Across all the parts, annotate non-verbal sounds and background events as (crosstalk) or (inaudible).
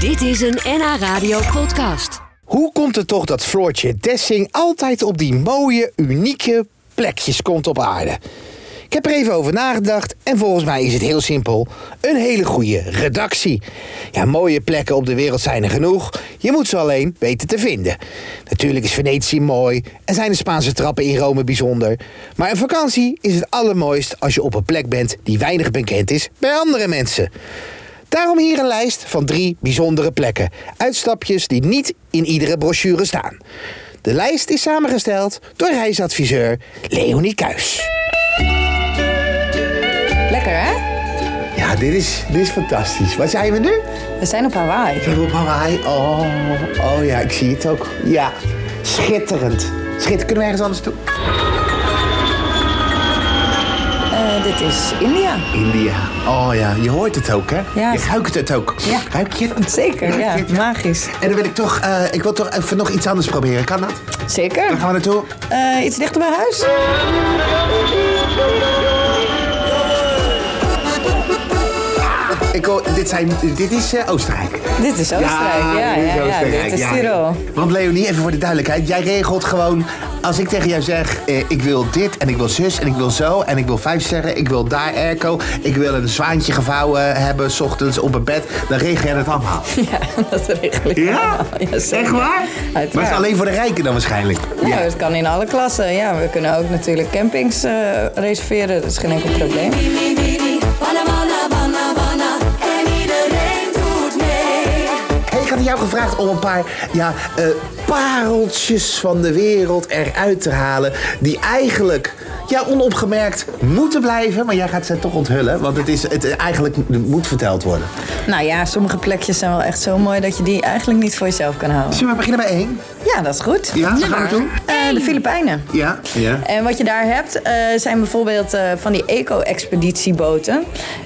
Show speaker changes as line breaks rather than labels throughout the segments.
Dit is een NH Radio podcast.
Hoe komt het toch dat Floortje Dessing altijd op die mooie, unieke plekjes komt op aarde? Ik heb er even over nagedacht en volgens mij is het heel simpel. Een hele goede redactie. Ja, mooie plekken op de wereld zijn er genoeg. Je moet ze alleen weten te vinden. Natuurlijk is Venetië mooi en zijn de Spaanse trappen in Rome bijzonder. Maar een vakantie is het allermooist als je op een plek bent die weinig bekend is bij andere mensen. Daarom hier een lijst van drie bijzondere plekken. Uitstapjes die niet in iedere brochure staan. De lijst is samengesteld door reisadviseur Leonie Kuijs.
Lekker hè?
Ja, dit is, dit is fantastisch. Waar zijn we nu?
We zijn op Hawaii.
Zijn we op Hawaii? Oh, oh ja, ik zie het ook. Ja, schitterend. Schitterend. Kunnen we ergens anders toe?
Eh, dit is India.
India. Oh ja, je hoort het ook, hè?
Ja.
Je ruikt het ook.
Ja.
Ruik je het? (laughs)
Zeker,
Ruik je
ja.
het?
Magisch.
En dan wil ik toch, eh, ik wil toch even nog iets anders proberen. Kan dat? Waar
Zeker.
gaan we naartoe?
Eh, iets dichter bij huis.
Ik, hoor- dit, zijn, dit is eh, Oostenrijk.
Dit is Oostenrijk. Ja,
dit is
ja, ja,
Oostenrijk,
Dit is
ja.
Tirol. (laughs)
Want Leonie, even voor de duidelijkheid. Jij regelt gewoon, als ik tegen jou zeg... eh, ik wil dit en ik wil zus en ik wil zo en ik wil vijf sterren... ik wil daar airco, ik wil een zwaantje gevouwen hebben... s ochtends op een bed, dan regel jij dat allemaal.
Ja, dat regel ik
Ja?
allemaal. Ja, zeker.
Echt waar?
Uiteraard.
Maar het is alleen voor de rijken dan waarschijnlijk.
Nou, het kan in alle klassen. Ja, we kunnen ook natuurlijk campings eh, reserveren. Dat is geen enkel probleem.
Hey, ik had jou gevraagd om een paar ja, eh, pareltjes van de wereld eruit te halen. Die eigenlijk ja, onopgemerkt moeten blijven. Maar jij gaat ze toch onthullen. Want het, is, het eh, eigenlijk moet verteld worden.
Nou ja, sommige plekjes zijn wel echt zo mooi dat je die eigenlijk niet voor jezelf kan houden.
Zullen we beginnen bij één?
Ja, dat is goed.
Ja, wat gaan we doen?
Eh, de Filipijnen.
Ja. ja.
En wat je daar hebt eh, zijn bijvoorbeeld eh, van die eco-expeditieboten.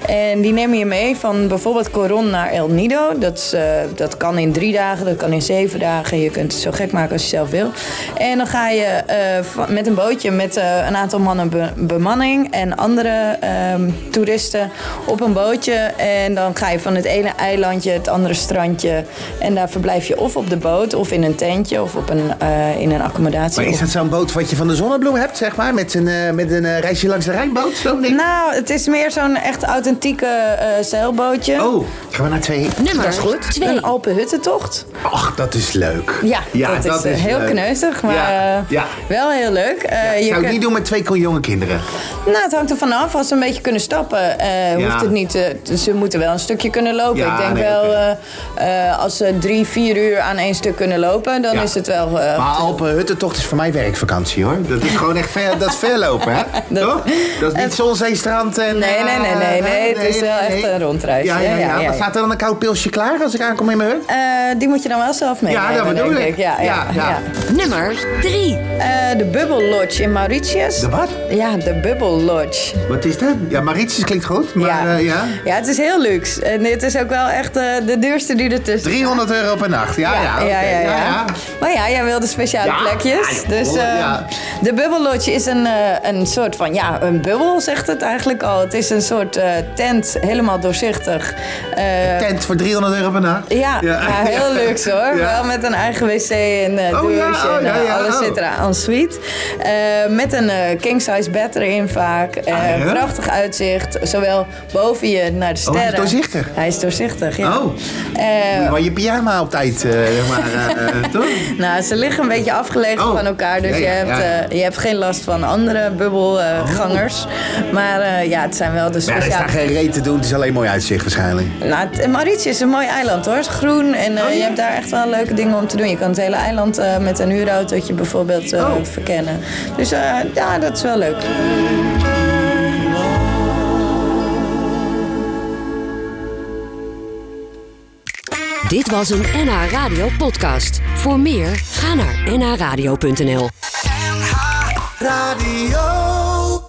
En die nemen je mee van bijvoorbeeld Coron naar El Nido. Dat, is, eh, dat kan in drie dagen, dat kan in zeven dagen. Je kunt het zo gek maken als je zelf wil. En dan ga je eh, va- met een bootje met eh, een aantal mannen be- bemanning en andere ehm, toeristen op een bootje. En dan ga je van het ene eilandje het andere strandje. En daar verblijf je of op de boot of in een tentje of op een, eh, in een accommodatie.
Maar
Of-
is dat zo'n boot wat je van de zonnebloem hebt, zeg maar? Met een, eh, met een eh, reisje langs de Rijnboot? Zo'n ding?
Nou, het is meer zo'n echt authentieke eh, zeilbootje.
Oh, gaan we naar twee?
Nummer
Dat is goed.
2.
Een Alpenhuttentocht.
Ach, dat is leuk.
Ja, dat, is, eh, heel
leuk.
kneuzig, maar
Ja,
eh,
ja.
wel heel leuk. Eh, je
Zou ik
kunt-
niet doen met twee jonge kinderen.
Nou, het hangt er vanaf. Als ze een beetje kunnen stappen, eh,
Ja.
hoeft het niet. eh, ze moeten wel een stukje kunnen lopen.
Ja,
ik denk
nee,
wel,
oké.
eh, eh, als ze drie, vier uur aan één stuk kunnen lopen, dan
Ja.
is het wel. eh,
Maar Alpenhuttentocht is voor mij werkvakantie hoor. Dat is gewoon echt ver, dat is ver lopen, hè?
(laughs) Dat-
Toch? Dat is niet Zonzeestrand en... eh,
Nee, nee, nee, nee, nee, het is wel echt een rondreis,
Ja, ja,
hè?
ja.
Ja, ja,
Maar
ja.
staat er dan een koud pilsje klaar als ik aankom in mijn hut?
eh, die moet je dan wel zelf meenemen.
Ja, dat bedoel
denk
ik.
Ja, ja,
Ja, ja.
ja.
Nummer 3.
Eh, de Bubble Lodge in Mauritius.
De wat?
Ja, de Bubble Lodge.
Wat is dat? Ja, Mauritius klinkt goed, maar ja. ja.
ja, het is heel luxe. En dit is ook wel echt eh, de duurste die er tussen.
300 euro per nacht, ja, ja. oké.
ja, ja, ja. Maar ja, jij wilde speciale
Ja,
plekjes.
ja,
dus eh,
ja.
de bubbellodge is een, eh, een soort van, ja, een bubbel zegt het eigenlijk al. Het is een soort eh, tent, helemaal doorzichtig. Eh,
Tent voor 300 euro per nacht.
ja, maar heel luxe
Ja.
hoor. Wel met een eigen wc en eh
Oh,
douche
ja, oh,
en
ja,
eh,
ja,
alles
oh.
zit eraan. En suite. Eh, met een eh, king-size bed erin vaak. Eh,
Ah, ja?
Prachtig uitzicht. Zowel boven je naar de
Oh,
sterren.
hij is doorzichtig?
Hij is doorzichtig, ja.
Oh.
Eh,
Maar je pyjama op tijd, eh, zeg maar, eh, (laughs) eh, toch?
nou, ze liggen een beetje afgelegen
Oh.
van elkaar. Dus
Ja,
je,
ja,
hebt,
ja.
eh, je hebt geen last van andere bubbelgangers. Maar eh, ja, het zijn wel de
Maar Oh. ja, er is daar
speciale...
geen reet te doen, het is alleen mooi uitzicht waarschijnlijk.
Nou, het- Mauritius is een mooi eiland hoor. Het is groen en eh, je hebt daar echt wel leuke dingen om te doen. Je kan het hele eiland eh, met een huurautootje bijvoorbeeld eh,
Oh.
verkennen. Dus eh, ja, dat is wel leuk.
Dit was een NH Radio podcast. Voor meer, ga naar nhradio.nl.
Radio.